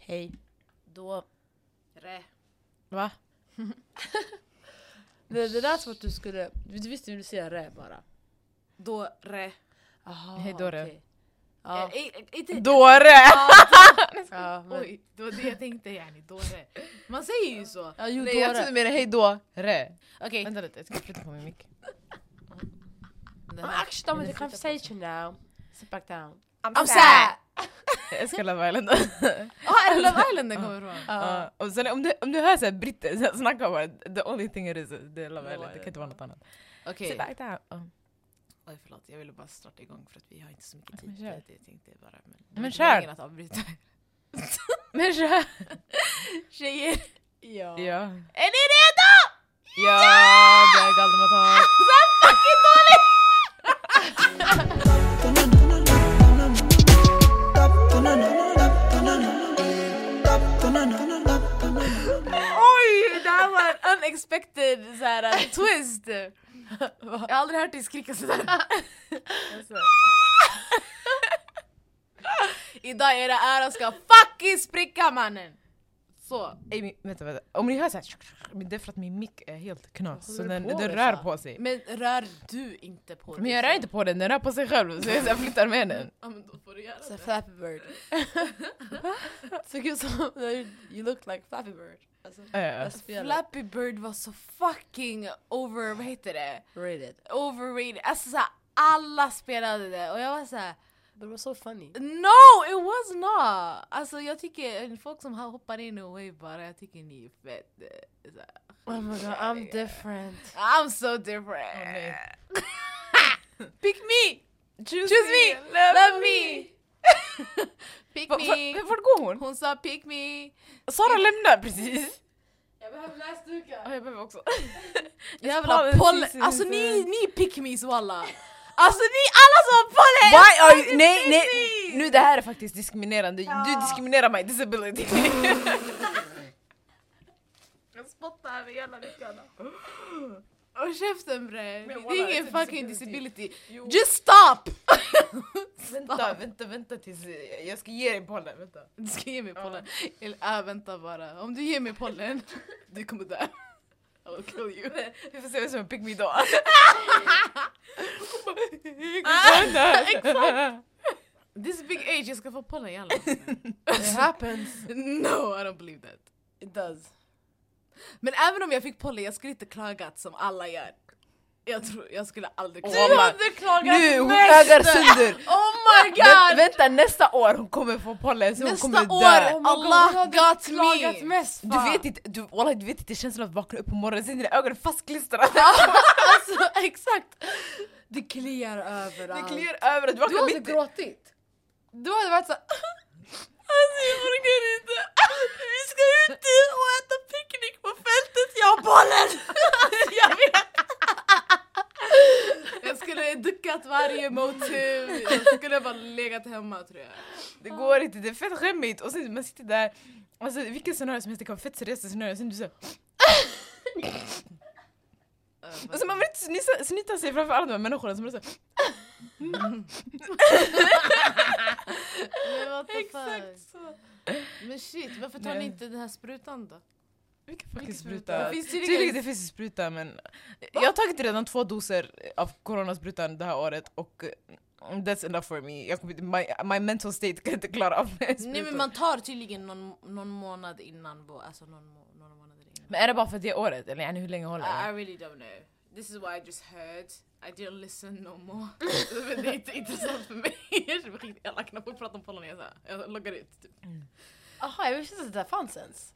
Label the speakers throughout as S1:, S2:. S1: Hej.
S2: Då...
S3: Rä.
S1: Va?
S2: Det, det lät som att du skulle... Du visste hur du säger rä bara.
S3: Då rä.
S2: Aha,
S1: Hej då, rä.
S2: okej. Ja,
S3: Eh, eh, inte...
S1: Dåre!
S2: ja, men,
S3: Oj, det var det jag tänkte yani. Då rä. Man säger ju så.
S2: ja, jo,
S1: Nej jag
S2: dåre.
S1: trodde mer hej då, re.
S3: Okej.
S1: Vänta lite, jag ska flytta på min mick.
S3: den
S2: I'm
S3: här-
S2: actually done with the conversation now. Sit back down.
S3: I'm sad!
S1: Jag älskar Love Island.
S3: Ah, är det Love Island den kommer ifrån?
S2: Ah.
S1: Ja, och sen om du, om du hör såhär britter så här snacka bara, the only thing it is, det är Love Island, det kan inte vara något annat.
S3: Okej.
S1: Sit back down. Ja.
S3: Oj förlåt, jag ville bara starta igång för att vi har inte så mycket
S1: Men
S3: tid.
S1: kör.
S3: Jag tänkte bara... Men,
S1: Men
S3: det var
S1: kör.
S3: ingen att avbryta.
S1: Men kör!
S3: Tjejer!
S2: Ja.
S1: Ja,
S3: Är ni redo?
S1: ja det är galdematal.
S3: Oj, det här var en unexpected så här, twist! Jag har aldrig hört dig skrika sådär. Idag era öron ska fucking spricka mannen! Så.
S1: Amy, vänta, vänta. Om ni hör såhär, men det är för att min mick är helt knas,
S2: Vad
S1: så
S2: håller
S1: den,
S2: du på
S1: den
S2: med,
S1: rör
S2: sa?
S1: på sig.
S3: Men rör du inte på
S1: Men jag rör inte på den, den rör på sig själv, så jag så här flyttar med den.
S3: Ja men då får du göra
S2: Så här,
S3: det.
S2: Flappy Bird. Såg ut som... You look like Flappy Bird. Alltså,
S1: Eh,
S2: jag spelar
S3: Flappy Bird var så fucking over, vad heter det?
S2: rated.
S3: Overrated. Alltså såhär, alla spelade det och jag var såhär
S2: But it was so funny.
S3: No, it was not! Alltså jag tycker folk som hoppar in och wave bara, jag tycker ni är fett... eh, så här,
S2: Oh my god, I'm different.
S3: I'm so different!
S1: Åh, nej.
S3: Pick me!
S1: Choose,
S3: me,
S1: love,
S3: Love me! pick
S1: Va- va-
S3: me!
S1: men Vart går hon?
S3: Hon sa pick me!
S1: Sara lämnar precis.
S3: Jag behöver
S1: Ja,
S3: näsdukar!
S1: jag behöver också.
S3: Jävla
S1: Fan,
S3: pollen!
S1: precis,
S3: Alltså
S1: inte.
S3: ni, ni är pick me's walla! Alltså ni alla som har pollen!
S1: Why are you, nej,
S3: Pick
S1: nej,
S3: me!
S1: nu det här är faktiskt diskriminerande. Du diskriminerar my disability.
S3: Jag spottar över hela nycklarna. Och käften bre! Det
S1: walla,
S3: är ingen
S1: it's a
S3: fucking
S1: disability.
S3: disability. Just stop!
S1: vänta, vänta, vänta tills eh, jag ska ge dig bollen. Vänta.
S3: Du ska ge mig pollen. Eller ah, vänta bara. Om du ger mig pollen, du kommer dö. I will kill you.
S1: Vi får se vem som är pick me då. Exakt.
S3: This big age, jag ska få pollen jalla.
S2: It happens.
S3: No, I don't believe that.
S2: It does.
S3: Men även om jag fick pollen, jag skulle inte klagat som alla gör. Jag tror, jag skulle aldrig
S1: Åh,
S3: klaga.
S1: mamma.
S3: klagat
S1: Nu, hon
S3: mest!
S1: ögar sönder.
S3: Oh my
S1: Vä-
S3: god!
S1: vänta nästa år hon kommer få pollen så hon
S3: Nästa
S1: kommer
S3: år,
S1: dö.
S3: oh Allah got
S2: Klagat
S3: me!
S2: mest
S1: Du vet inte, du, wallah, du vet inte känslan att vakna upp på morgonen sen är dina ögon fastklistrade.
S2: Alltså exakt! Det kliar
S1: Det
S3: alltså.
S2: överallt.
S1: kliar överallt,
S2: Du
S1: du vaknar
S2: hade
S1: mitt i...
S2: gråtit. Du hade varit såhär...
S1: Alltså jag orkar inte! Vi ska ut och äta picknick på fältet, jag har bollen! jag vet!
S3: Jag skulle duckat varje motiv, jag skulle bara legat hemma tror jag.
S1: Det går inte, det är fett skämmigt. Och sen man sitter där, alltså vilken scenario som helst, det kan vara fett seriösa scenarion, sen du så...
S3: Eh,
S1: Och
S3: Alltså,
S1: sen alltså, man vill inte snissa- snyta sig framför alla de här människorna som är så...
S3: Men what the fuck?
S1: Exakt så!
S3: Men shit, varför tar
S1: Nej.
S3: ni inte den här sprutan då?
S1: Vilken fucking
S3: spruta?
S1: spruta?
S3: Det finns tydligen-
S1: Tydligen det finns ju spruta men... Jag har tagit redan två doser av coronasprutan det här året och eh, that's enough for me. Jag, kommer- my, my mental state kan inte klara av sprutor.
S3: Nej men man tar tydligen någon, någon månad innan, bo, alltså någon, må- några månader innan.
S1: Men är det bara för det året? Eller yani, hur länge håller
S3: I,
S1: det?
S3: I really don't know. This is what I just heard. I didn't listen no more. Men det är inte intressant för mig. Jag känner mig skitelak när folk pratar om pollen. Jag, så här- jag loggar ut. Typ.
S2: Jaha, jag visste inte att det där fanns ens.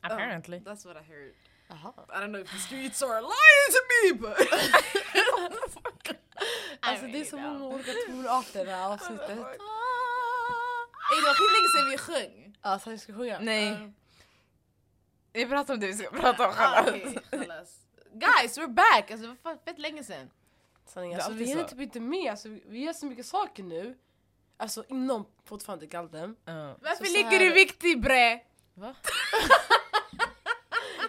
S3: ah.
S1: Apparently.
S3: That's what I heard.
S2: Jaha.
S3: I don't know if the streets are lying to me but...
S2: Alltså det är så många olika tonarter i det här
S1: Oh
S2: avsnittet.
S3: Ey det var skitlänge sedan vi sjöng.
S2: Ja, så vi ska sjunga.
S1: Nej. Vi pratar om det vi ska prata om
S3: Ah,
S1: själva.
S3: okej, Chalas. Guys we're back! Alltså vad fan, fett länge sedan.
S2: Sanning,
S1: Det är
S2: alltså,
S1: alltid
S2: vi hinner
S1: så.
S2: typ inte med. Alltså, vi vi gör så mycket saker nu. Alltså inom fortfarande Galdem.
S1: Ja.
S3: Varför
S2: så
S3: ligger
S2: här-
S3: du viktig bre?
S1: Va?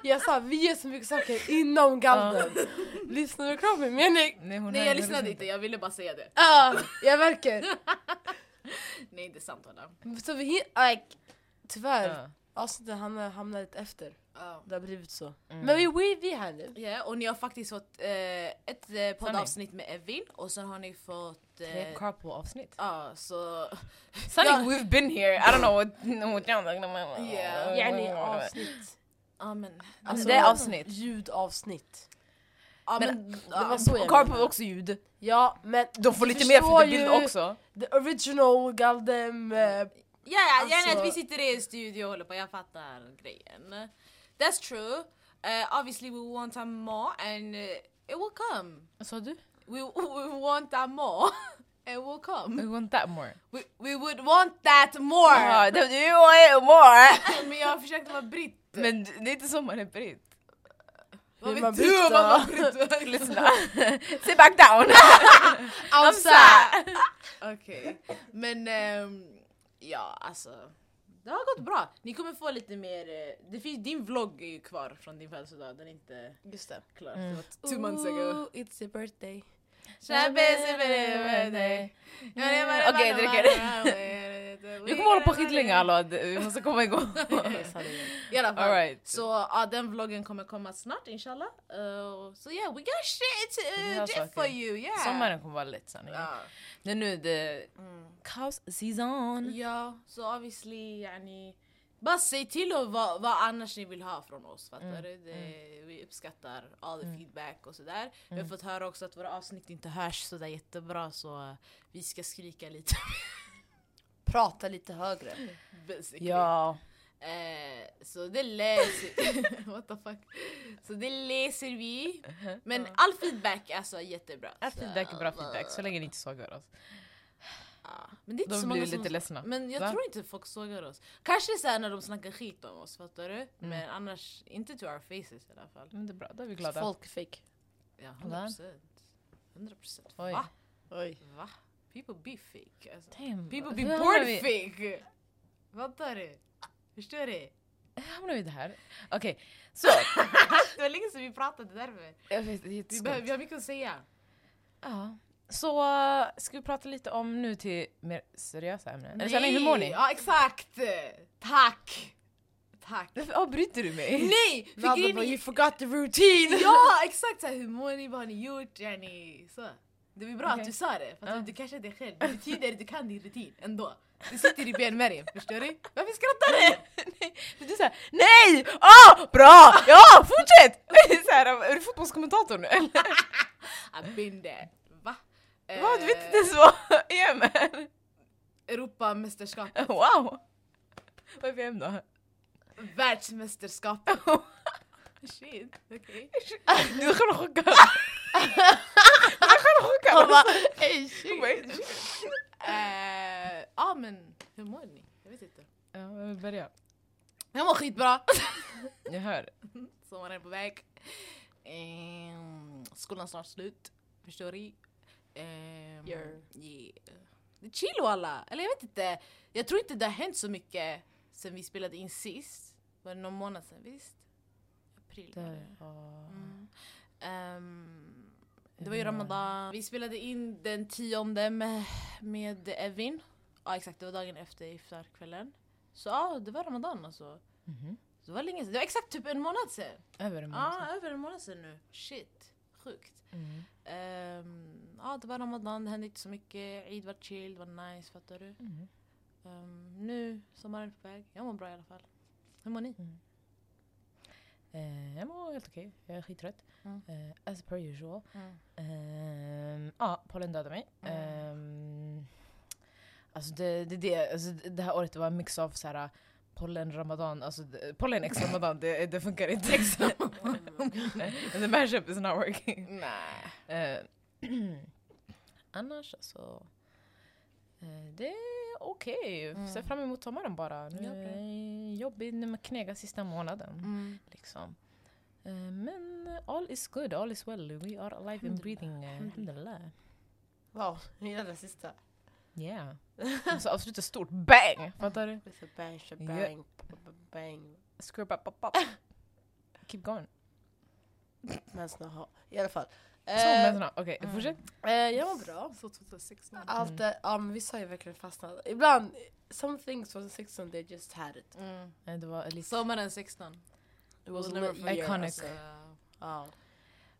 S2: Jag sa vi gör så mycket saker inom Galdem. Lyssnar du klart min mening?
S1: Nej, hon
S3: Nej
S1: hör-
S3: jag
S1: hon
S3: lyssnade
S1: lyssnar
S3: inte, jag ville bara säga det.
S2: Ja, jag verkar.
S3: Nej det är sant Hanna.
S2: Så vi hinner... Like, Tyvärr,
S3: Ah.
S1: Ja.
S2: avsnitten hamnar, hamnar lite efter.
S3: Ja.
S2: Det har blivit så.
S1: Mm.
S2: Men vi, vi, vi är här nu.
S3: Ja, Um, och ni har faktiskt fått eh, ett eh, poddavsnitt med Evin och sen har ni fått...
S1: Tre
S3: eh,
S1: couple avsnitt.
S3: Ja, så...
S1: Sunny,
S3: Ja.
S1: we've been here. I don't know what... No, what
S3: Yeah.
S2: Yani avsnitt.
S3: Ja men...
S1: Alltså, det är avsnitt.
S2: Ljudavsnitt.
S3: Ja,
S1: Men-
S3: men,
S2: Det var
S3: ja.
S2: så jag
S1: Carpool
S2: menade.
S1: också ljud.
S2: Ja, men
S1: De får
S2: du
S1: lite mer
S2: förstår
S1: för bild
S2: ju
S1: också.
S2: The original Galdem... eh,
S3: Ja, ja,
S2: Alltså-
S3: gärna att vi sitter i en studio och håller på, jag fattar grejen. That's true. Uh, obviously we want a more and uh, it will come.
S1: Vad sa du?
S3: We, we want a more and will come.
S1: We want that more.
S3: We, we would want that more!
S1: Ah, don't you want it more?
S3: Men jag försökte vara britt.
S1: Men det är inte så man är britt.
S3: Vad
S2: man
S3: vet
S2: britt
S3: du om
S2: då?
S3: man var britt?
S1: Lyssna. Sit back down.
S3: Amsa! Okej, men ehm, ja alltså. Det har gått bra. Ni kommer få lite mer, eh, det finns, din vlogg är ju kvar från din födelsedag, den är inte
S2: Just det.
S3: klar.
S1: Mm.
S3: Det var two months ago.
S2: Ooh, it's a birthday.
S1: Mm. Okej, dricker. Vi kommer hålla på skitlänge hallå, vi måste komma igång.
S3: I alla fall.
S1: All right.
S3: Så ja, den vloggen kommer komma snart inshallah. Uh, so yeah, we got shit
S1: Vi
S3: uh,
S1: har
S3: did for
S1: saker.
S3: you. Yeah.
S1: Sommaren kommer vara lätt sanning.
S3: Ja.
S1: Det är nu det...
S3: Mm.
S1: Kaos season.
S3: Ja, så obviously yani, bara säg till och vad, vad annars ni vill ha från oss. Fattar
S1: Mm,
S3: du? Det, Vi uppskattar all the feedback och sådär. Vi
S1: Mm.
S3: har fått höra också att våra avsnitt inte hörs sådär jättebra så eh, vi ska skrika lite.
S2: Prata lite högre.
S3: basically.
S1: Ja.
S3: Eh, så det läser What the fuck? Så det läser vi. Men all feedback är alltså jättebra.
S1: All
S3: Så,
S1: feedback är bra feedback, så länge ni inte sågar oss.
S3: ja. Men det är inte
S1: Då
S3: så
S1: blir
S3: många
S1: vi
S3: som
S1: lite ledsna.
S3: Men jag
S1: Va?
S3: tror inte folk sågar oss. Kanske såhär när de snackar skit om oss, fattar
S1: Mm.
S3: du? Men annars, inte to our faces i alla fall.
S1: Men det är bra, då är vi glada.
S2: Folk fick.
S3: Ja, 100 procent. 100 procent.
S1: Oj.
S3: Va?
S2: Oj.
S3: Va? People be fake. Alltså.
S1: Damn.
S3: People
S1: hur
S3: be
S1: hamnar
S3: born
S1: vi-
S3: fake! Fattar du? Förstår du?
S1: Hur hamnar vi där? Okej, så.
S3: Det var länge sedan vi pratade därför.
S1: Jag vet, det är
S3: Vi,
S1: jätteskumt.
S3: behöver, vi har mycket att säga.
S1: Ja. Så äh, ska vi prata lite om nu till mer seriösa ämnen? Eller känner ni, hur mår ni?
S3: Ja exakt! Tack! Tack!
S1: Varför avbryter du mig?
S3: Nej! För
S2: Nadda
S3: grejen
S2: bara,
S3: är-
S2: you forgot the routine!
S3: Ja exakt! Så här, hur mår ni? Vad har ni gjort? Är ni så? Det är bra
S1: Okej.
S3: att du sa det, för att
S1: Ja.
S3: du kanske inte är själv. Det betyder att du kan din rutin ändå. Det sitter i benmärgen, förstår du? Varför skrattar du?
S1: För Du säger nej! Åh, bra! Ja, fortsätt! så här, är du fotbollskommentator nu eller?
S3: I've been there. Va? Eh,
S1: Vad, du vet inte ens vad EM är?
S3: Europamästerskap,
S1: Wow! Vad är VM då?
S3: världsmästerskap. Shit, okej.
S1: Du är själv chockad! Jag är själv
S2: Hon
S1: chockad!
S2: bara, ey
S1: Oh
S2: shit.
S1: Wait.
S3: Eh, Ja men, hur mår ni? Jag vet inte.
S1: Ja, vem vill börja?
S3: Jag mår skitbra.
S1: Jag hör.
S3: Sommaren är på väg. Ehm, skolan är snart slut. Förstår ni? Ehm,
S2: Yeah.
S3: yeah. Det är chill alla. Eller jag vet inte. Jag tror inte det har hänt så mycket sen vi spelade in sist. Var det någon månad sen? Visst? April var det.
S1: Där. åh.
S3: Mm. Ehm, det var ju Ramadan. Vi spelade in den tionde med, med Evin. Ja exakt, det var dagen efter iftarkvällen. Så ja, det var Ramadan alltså.
S1: Mhm.
S3: Det var länge sedan. Det var exakt typ en månad sedan.
S1: Över en
S3: Ja,
S2: Mm,
S1: månad.
S3: över en månad sedan nu. Shit, sjukt.
S1: Mm.
S3: Ehm, Ja, det var ramadan, det hände inte så mycket. Eid var chill, det var nice, fattar du?
S1: Mm.
S3: Ehm, nu, sommaren är på väg. Jag mår bra i alla fall. Hur mår ni?
S1: Mm. Eh, jag mår helt okej, jag är skittrött.
S3: Mm.
S1: Eh, as per usual.
S3: Mm.
S1: Ehm, Ja, pollen dödade mig. Ehm, alltså det, det, det, alltså det det här året det var en mix av så här, pollen, ramadan, alltså det- pollen ex ramadan, det, det funkar inte. The mashup is not working.
S3: Nej.
S1: Eh, annars alltså, eh, det är okej.
S3: Mm.
S1: Ser fram emot sommaren bara. Nu
S3: Ja, bra.
S1: är det jobbigt när man knegar sista månaden.
S2: Mm.
S1: Liksom. Eh, Men eh, all is good, all is well. We are alive and breathing. eh, Alhamdulillah.
S2: Wow, jag gillar det sista.
S1: Yeah. Och så avsluta stort. Bang! Fattar du?
S2: It's a bang, it's a
S1: Ja.
S2: bang, b- b- bang.
S1: Screw up, up, up. Keep going.
S2: Men snart, I alla fall.
S1: Så
S2: Eh,
S1: människorna, okej
S2: mm.
S1: fortsätt.
S2: eh, jag mår bra.
S4: Så 2016.
S2: Allt det, ja men vissa har ju verkligen fastnat. Ibland, some things from 16 they just had it.
S3: Mm.
S1: Nej, Eh, Det var lite...
S3: Sommaren 16.
S2: It was
S3: We'll
S2: never
S3: never
S2: year,
S1: forget. Iconic.
S2: alltså. Ja.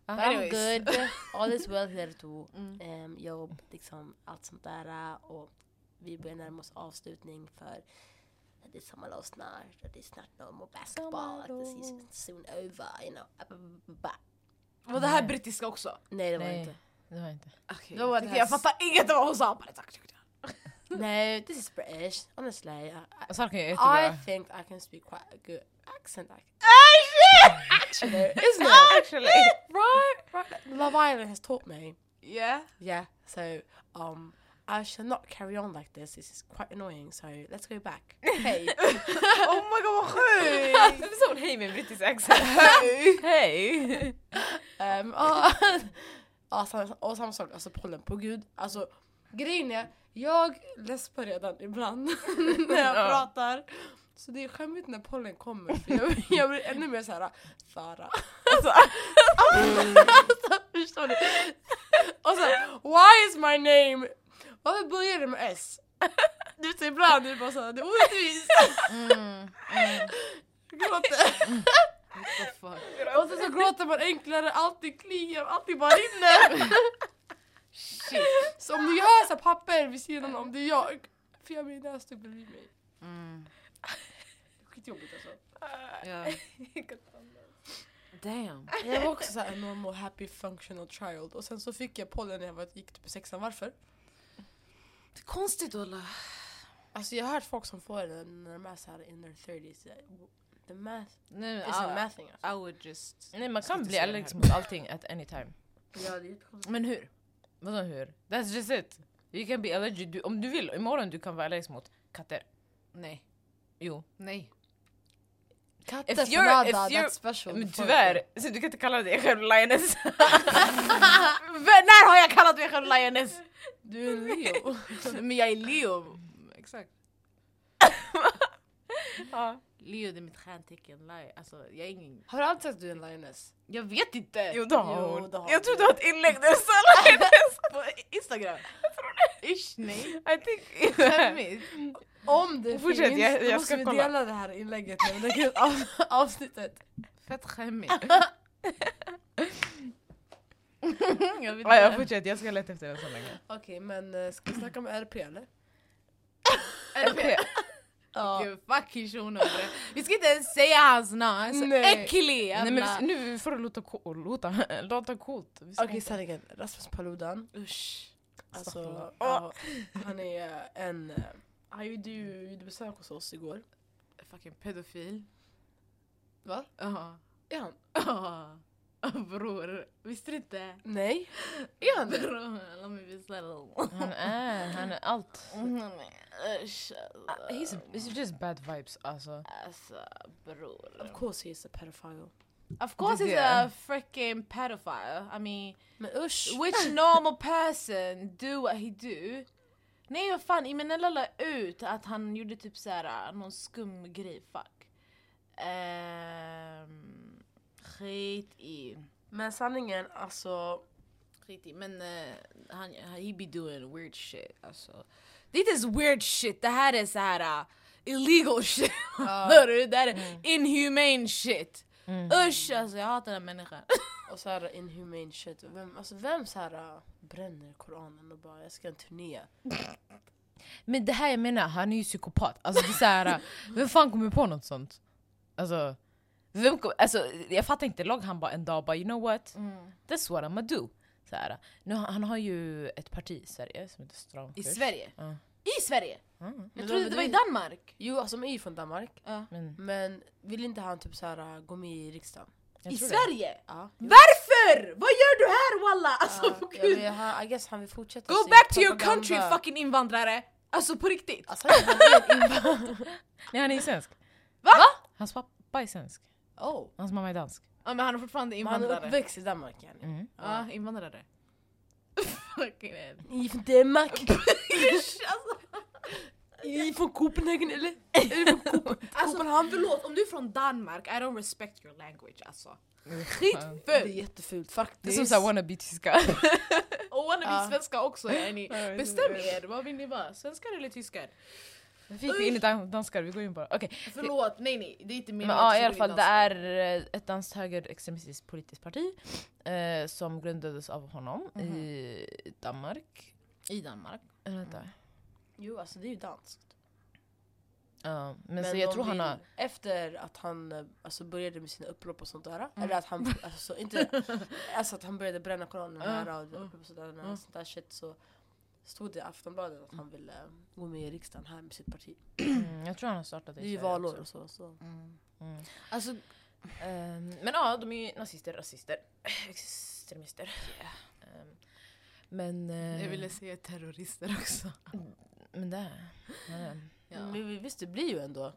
S1: Ah,
S2: But I'm
S3: anyways.
S2: good, all is well here too.
S3: Mm.
S2: Ehm, jobb, liksom allt sånt där. Och vi börjar närma oss avslutning för det är sommarlov snart och det är snart no more basketball.
S1: Sommarlov.
S2: This is soon over, you know. Ba-ba-ba-ba.
S3: Var det här brittiska också?
S2: Nej det var det
S1: Nej,
S2: inte.
S1: det var inte.
S3: Okay.
S2: Då var det
S3: typ, jag,
S2: här-
S3: jag fattar inget av vad hon sa. Bara, tack, tack, tack.
S2: Nej, this is British. Honestly, I, I-
S1: Sarkan Ah, är
S2: I
S1: jättebra.
S2: think I can speak quite a good accent. I can- Actually, isn't it?
S1: Actually!
S2: right, right. Love Island has taught me.
S3: Yeah.
S2: Yeah, so um, I shall not carry on like this. This is quite annoying. So let's go back. Hey.
S1: Oh my god vad sjukt! Varför sa hon hej med en brittisk accent? Hej!
S2: um, ja, ja, sam- och samma sak, alltså pollen på gud. Alltså grejen är, jag läspar redan ibland när jag
S1: Ja.
S2: pratar. Så det är skämmigt när pollen kommer för jag, jag blir ännu mer såhär Sara. Alltså, förstår du? Och så, why is my name? Varför börjar det med S? Du vet så ibland, det är bara såhär, det är orättvist.
S1: Mm.
S2: Gråter. Och sen så gråter man enklare, allting kliar, allting bara rinner.
S3: Shit.
S2: Så om du har så här papper vid sidan om, det är jag. För jag min näsduk bredvid mig.
S3: Mm.
S2: Skitjobbigt alltså.
S3: Yeah. Damn.
S2: Jag var också såhär normal happy functional child och sen så fick jag pollen när jag var, gick typ i sexan, varför?
S3: Det är konstigt Ola.
S2: Alltså jag har hört folk som får den när de är såhär in their 30s. eh, The math
S3: Nej, men,
S2: isn't
S3: I,
S2: mathing alltså.
S3: I would just...
S1: Nej man kan
S3: Ska
S1: bli
S3: inte säga
S1: allergisk
S3: det
S1: mot allting at any time.
S2: Ja, det är jättekonstigt.
S1: Men hur? Vadå hur? That's just it. You can be allergic. Du, om du vill, imorgon du kan vara allergisk mot katter.
S3: Nej.
S1: Jo.
S3: Nej.
S2: Katter
S1: If
S2: för
S1: you're-
S2: nada,
S1: if you're-
S2: that's special.
S1: Men tyvärr, så du kan inte kalla dig själv lioness.
S3: när har jag kallat mig själv lioness?
S2: Du är en Leo.
S3: men jag är Leo. Exakt.
S1: ja.
S3: Leo det är mitt stjärntecken. Lion. Alltså, jag är ingen...
S2: Har du alltid sagt att du är en lioness?
S3: Jag vet inte.
S1: Jo det har
S2: Jo,
S1: hon.
S2: det har
S1: Jag
S2: du.
S1: tror du har ett inlägg där du sa lioness.
S3: På Instagram. Ish, nej.
S1: I think...
S3: Skämmigt.
S2: Om det
S1: Fortsätt,
S2: finns,
S1: jag-
S2: då
S1: jag
S2: måste
S1: ska
S2: vi
S1: kolla.
S2: dela det här inlägget när vi lägger ut av, avsnittet.
S3: Fett skämmigt. Mm, jag vet
S1: Ja, jag
S3: inte.
S1: fortsätter, jag ska leta efter den så länge.
S2: Okej, men eh, ska vi snacka om RP eller?
S1: Okej.
S2: Ja.
S3: Gud, fucking shuno bre. Vi ska inte ens säga hans namn, han är så
S2: Nej.
S3: äcklig jävla...
S1: Nej men vi- nu får det låta, ko- låta, låta coolt. Vi ska
S2: Okej,
S1: inte-
S2: sanningen. Rasmus Paludan.
S3: Usch.
S2: Alltså,
S1: Staffan.
S2: ja, han är eh, en... eh, Han gjorde ju gjorde besök hos oss igår.
S3: Fucking pedofil.
S2: Va?
S3: Ja.
S2: Är han?
S3: Ja. Bror, visste du inte?
S2: Nej. Är han det?
S3: Bror, låt mig visa dig.
S1: Han är, han är allt.
S3: Mm, Usch
S1: Ah, He's, he's just bad vibes alltså.
S3: alltså. bror.
S2: Of course he is a pedophile.
S3: Of course
S1: Det är
S3: he's
S1: det.
S3: a freaking pedophile. I mean,
S2: Men usch!
S3: which normal person do what he do? Nej vad fan, Imenella la ut att han gjorde typ såhär någon skum grej, fuck. Ehm, skit i.
S2: Men sanningen, alltså...
S3: Skit i, men eh, han, he be doing weird shit alltså. Det är inte ens weird shit, det här är såhär uh, illegal shit. Hör du? Det här är inhumane shit. Usch alltså, jag hatar den här människan.
S2: Och så här inhumane shit. Vem, alltså vem så här äh, bränner koranen och bara jag ska ha en turné?
S1: Men det här jag menar, han är ju psykopat. Alltså det är så här, vem fan kommer på något sånt? Alltså, vem kom, alltså jag fattar inte, låg han bara en dag och bara you know what? That's what I'ma do. Så här, nu, har- han har ju ett parti i Sverige som heter Stram
S3: I
S1: Kurs.
S3: Sverige?
S1: Ja.
S3: I Sverige?
S1: Mm.
S2: Men
S3: Jag trodde
S2: då-
S3: det var i Danmark.
S2: Jo, alltså de är ju från Danmark.
S1: Men,
S2: Men vill inte han typ så här äh, gå med i riksdagen?
S1: jag
S3: I
S1: tror
S3: Sverige?
S2: Ja.
S3: Varför? Vad gör du här walla? Alltså
S2: Ja,
S3: på
S2: jag
S3: gud.
S2: vill, han, I guess han vill fortsätta
S3: Go
S2: sin
S3: back to your
S2: propaganda.
S3: country fucking invandrare! Alltså på riktigt.
S2: Alltså han är en invandrare.
S1: det. Nej han är ju svensk.
S3: Va?
S1: Hans pappa är svensk,
S2: Oh.
S1: hans mamma är dansk.
S3: Ja, men han är fortfarande
S2: Men Han
S3: invandrare.
S2: är uppväxt i Danmark yani.
S1: Mm.
S3: Ja, invandrare. Fucking hell.
S2: I Danmark.
S3: Usch, alltså.
S2: Är ni från Copenhagen eller? Är ni från Copen-
S3: Alltså
S2: Copenhagen?
S3: förlåt, om du är från Danmark, I don't respect your language alltså.
S1: Fan.
S2: Det är
S3: Skitfult!
S2: jättefult faktiskt.
S1: Det är som såhär wannabe-tyska.
S3: Och wannabe
S2: Ja.
S3: svenska också yani.
S1: Ja, jag vet
S3: Bestäm
S1: inte.
S3: er, vad vill ni vara? Svenskar eller tyskar?
S1: Vi gick in i dan- danskar, vi går in bara. Okej.
S3: Förlåt, nej nej, det är inte min
S1: Men ja, i alla fall det är eh, ett danskt högerextremistiskt politiskt parti eh, som grundades av honom i Danmark.
S3: I Danmark.
S1: Eller vänta.
S2: Jo alltså det är ju danskt.
S1: Ja, men,
S2: Men
S1: så jag
S2: de
S1: tror han
S2: vill-
S1: har...
S2: Efter att han eh, alltså, började med sina upprop och sånt där.
S3: Mm.
S2: Eller att han, alltså, inte, alltså att han började bränna koranen
S3: Mm.
S2: här och upprop och sånt där, och sånt där shit så stod det i Aftonbladet att han ville um, gå med i riksdagen här med sitt parti.
S1: Mm, jag tror han har startat
S2: Det
S1: i
S2: är ju
S1: Sverige
S2: valår
S1: också.
S2: och så. så.
S1: Mm.
S3: Alltså,
S1: Ehm, men ja, de är ju nazister, rasister, extremister. Ehm, men... eh,
S3: jag ville säga terrorister också.
S1: Men det... eh,
S3: Ja,
S2: Men vi- visst det blir ju ändå.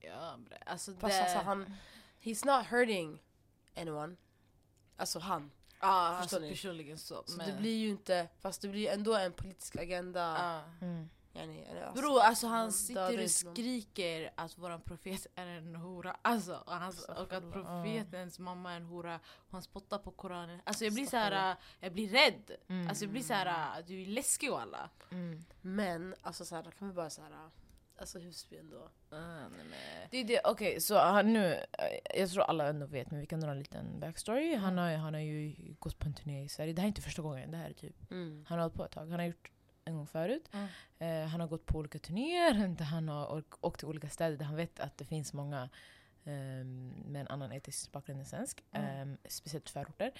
S3: ja bre. alltså
S2: Fast
S3: det...
S2: alltså han, he's not hurting anyone. Alltså han.
S3: Ja,
S2: Förstår
S3: alltså
S2: ni?
S3: personligen så.
S2: Så
S3: men,
S2: det blir ju inte, fast det blir ju ändå en politisk agenda.
S3: Ja.
S1: mm.
S2: Yani, eller alltså-
S3: Bro, alltså
S2: man
S3: han sitter
S2: dödar
S3: och
S2: inte någon.
S3: skriker att våran profet är en hora. Alltså, och, hans, och att
S1: Astaghfirullah.
S3: profetens mamma är en hora. Och han spottar på koranen. Alltså jag blir så här, jag blir rädd.
S1: Mm.
S3: Alltså jag blir så här, du är läskig walla.
S1: Mm.
S2: Men alltså så här, kan vi bara så här, alltså Husby ändå.
S1: Det är det, okej så han nu, eh, jag tror alla ändå vet men vi kan dra en liten backstory. Han har, han har ju gått på en turné i Sverige, det här är inte första gången, det här är typ,
S2: Mm.
S1: han har hållit på ett tag. Han har gjort en gång förut.
S3: Mm.
S1: Eh, han har gått på olika turnéer, där han har åk- åkt till olika städer där han vet att det finns många ehm, med en annan etnisk bakgrund än svensk. ehm, speciellt förorter.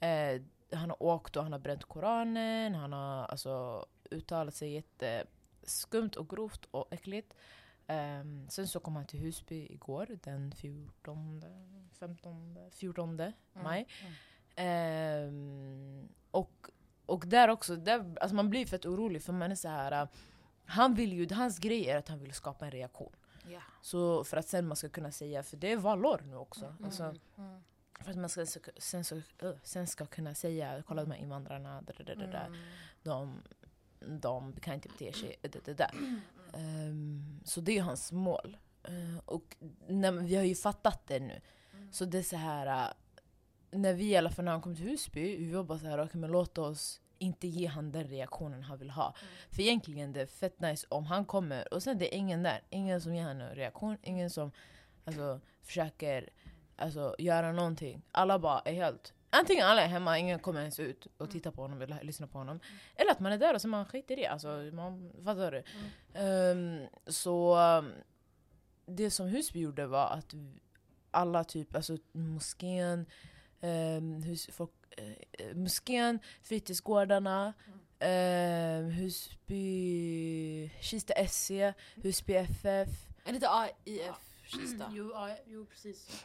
S1: Eh, han har åkt och han har bränt koranen, han har alltså uttalat sig jätteskumt och grovt och äckligt. Ehm, sen så kom han till Husby igår den 14, 15, 14
S3: Mm,
S1: maj. Ehm, och, och där också, där, alltså man blir fett orolig för man är så här. äh, han vill ju, hans grej är att han vill skapa en reaktion.
S3: Ja.
S1: Så för att sen man ska kunna säga, för det är valår nu också. Alltså,
S3: Mm.
S1: för att man ska, så- sen, så, ö, sen ska kunna säga, kolla de här invandrarna, där, där, där, där. De, de kan inte bete sig, där, där, där. Ehm, så det är hans mål. Eh, och när, vi har ju fattat det nu. Så det är så här, äh, när vi i alla fall när han kom till Husby, vi var bara så här, okej men låt oss inte ge han den reaktionen han vill ha. För egentligen det är fett nice om han kommer och sen det är ingen där, ingen som ger han en reaktion, ingen som alltså, försöker alltså, göra någonting. Alla bara är helt, antingen alla är hemma, ingen kommer ens ut och tittar på honom eller lyssnar på honom. Eller att man är där och så man skiter i det, alltså, man, fattar du? Ehm, så um, det som Husby gjorde var att alla typ, alltså moskén, um, hus, folk, eh, eh, moskén, fritidsgårdarna, ehm, Husby, Kista SC, Husby FF.
S3: Är det inte AIF Kista?
S2: Jo, ja, jo precis.